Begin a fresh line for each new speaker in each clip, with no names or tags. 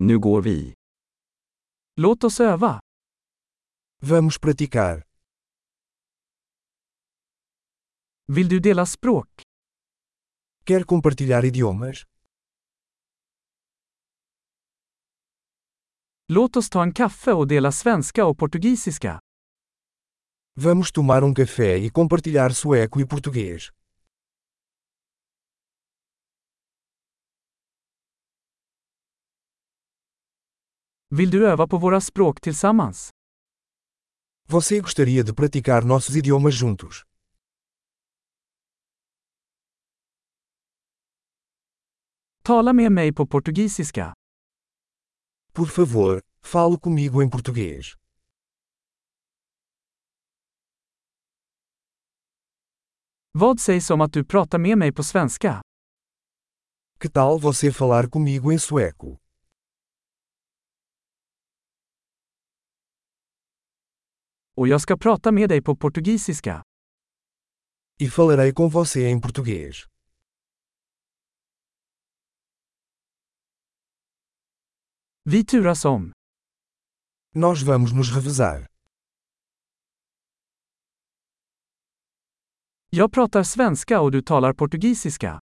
Nu går vi.
Låt oss öva.
Vamos praticar.
Vill du dela språk?
Quer compartilhar idiomas?
Låt oss ta en kaffe och dela svenska och portugisiska.
Vamos tomar um café e compartilhar sueco e português.
Vill du öva på våra språk tillsammans?
Você gostaria de praticar nossos idiomas juntos?
Tala med mig på portugisiska.
Por favor, fale comigo em português.
Vad sägs om att du pratar med mig på svenska?
Que tal você falar comigo em sueco?
Och jag ska prata med dig på portugisiska.
E falarei com você em português.
Vi turas om.
Nós vamos nos revezar.
Jag pratar svenska och du talar portugisiska.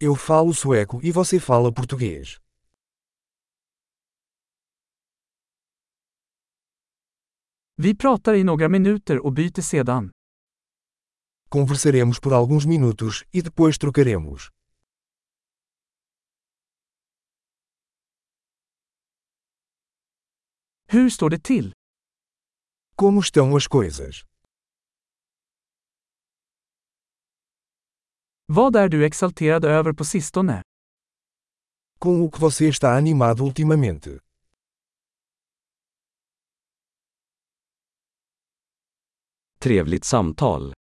Eu falo sueco e você fala português.
Vi pratar i några minuter och byter sedan.
Conversaremos por alguns minutos e depois trocaremos.
Hur står det till?
Como estão as coisas?
Vad är du exalterad över på sistone?
Com o que você está animado ultimamente?
Trevligt samtal.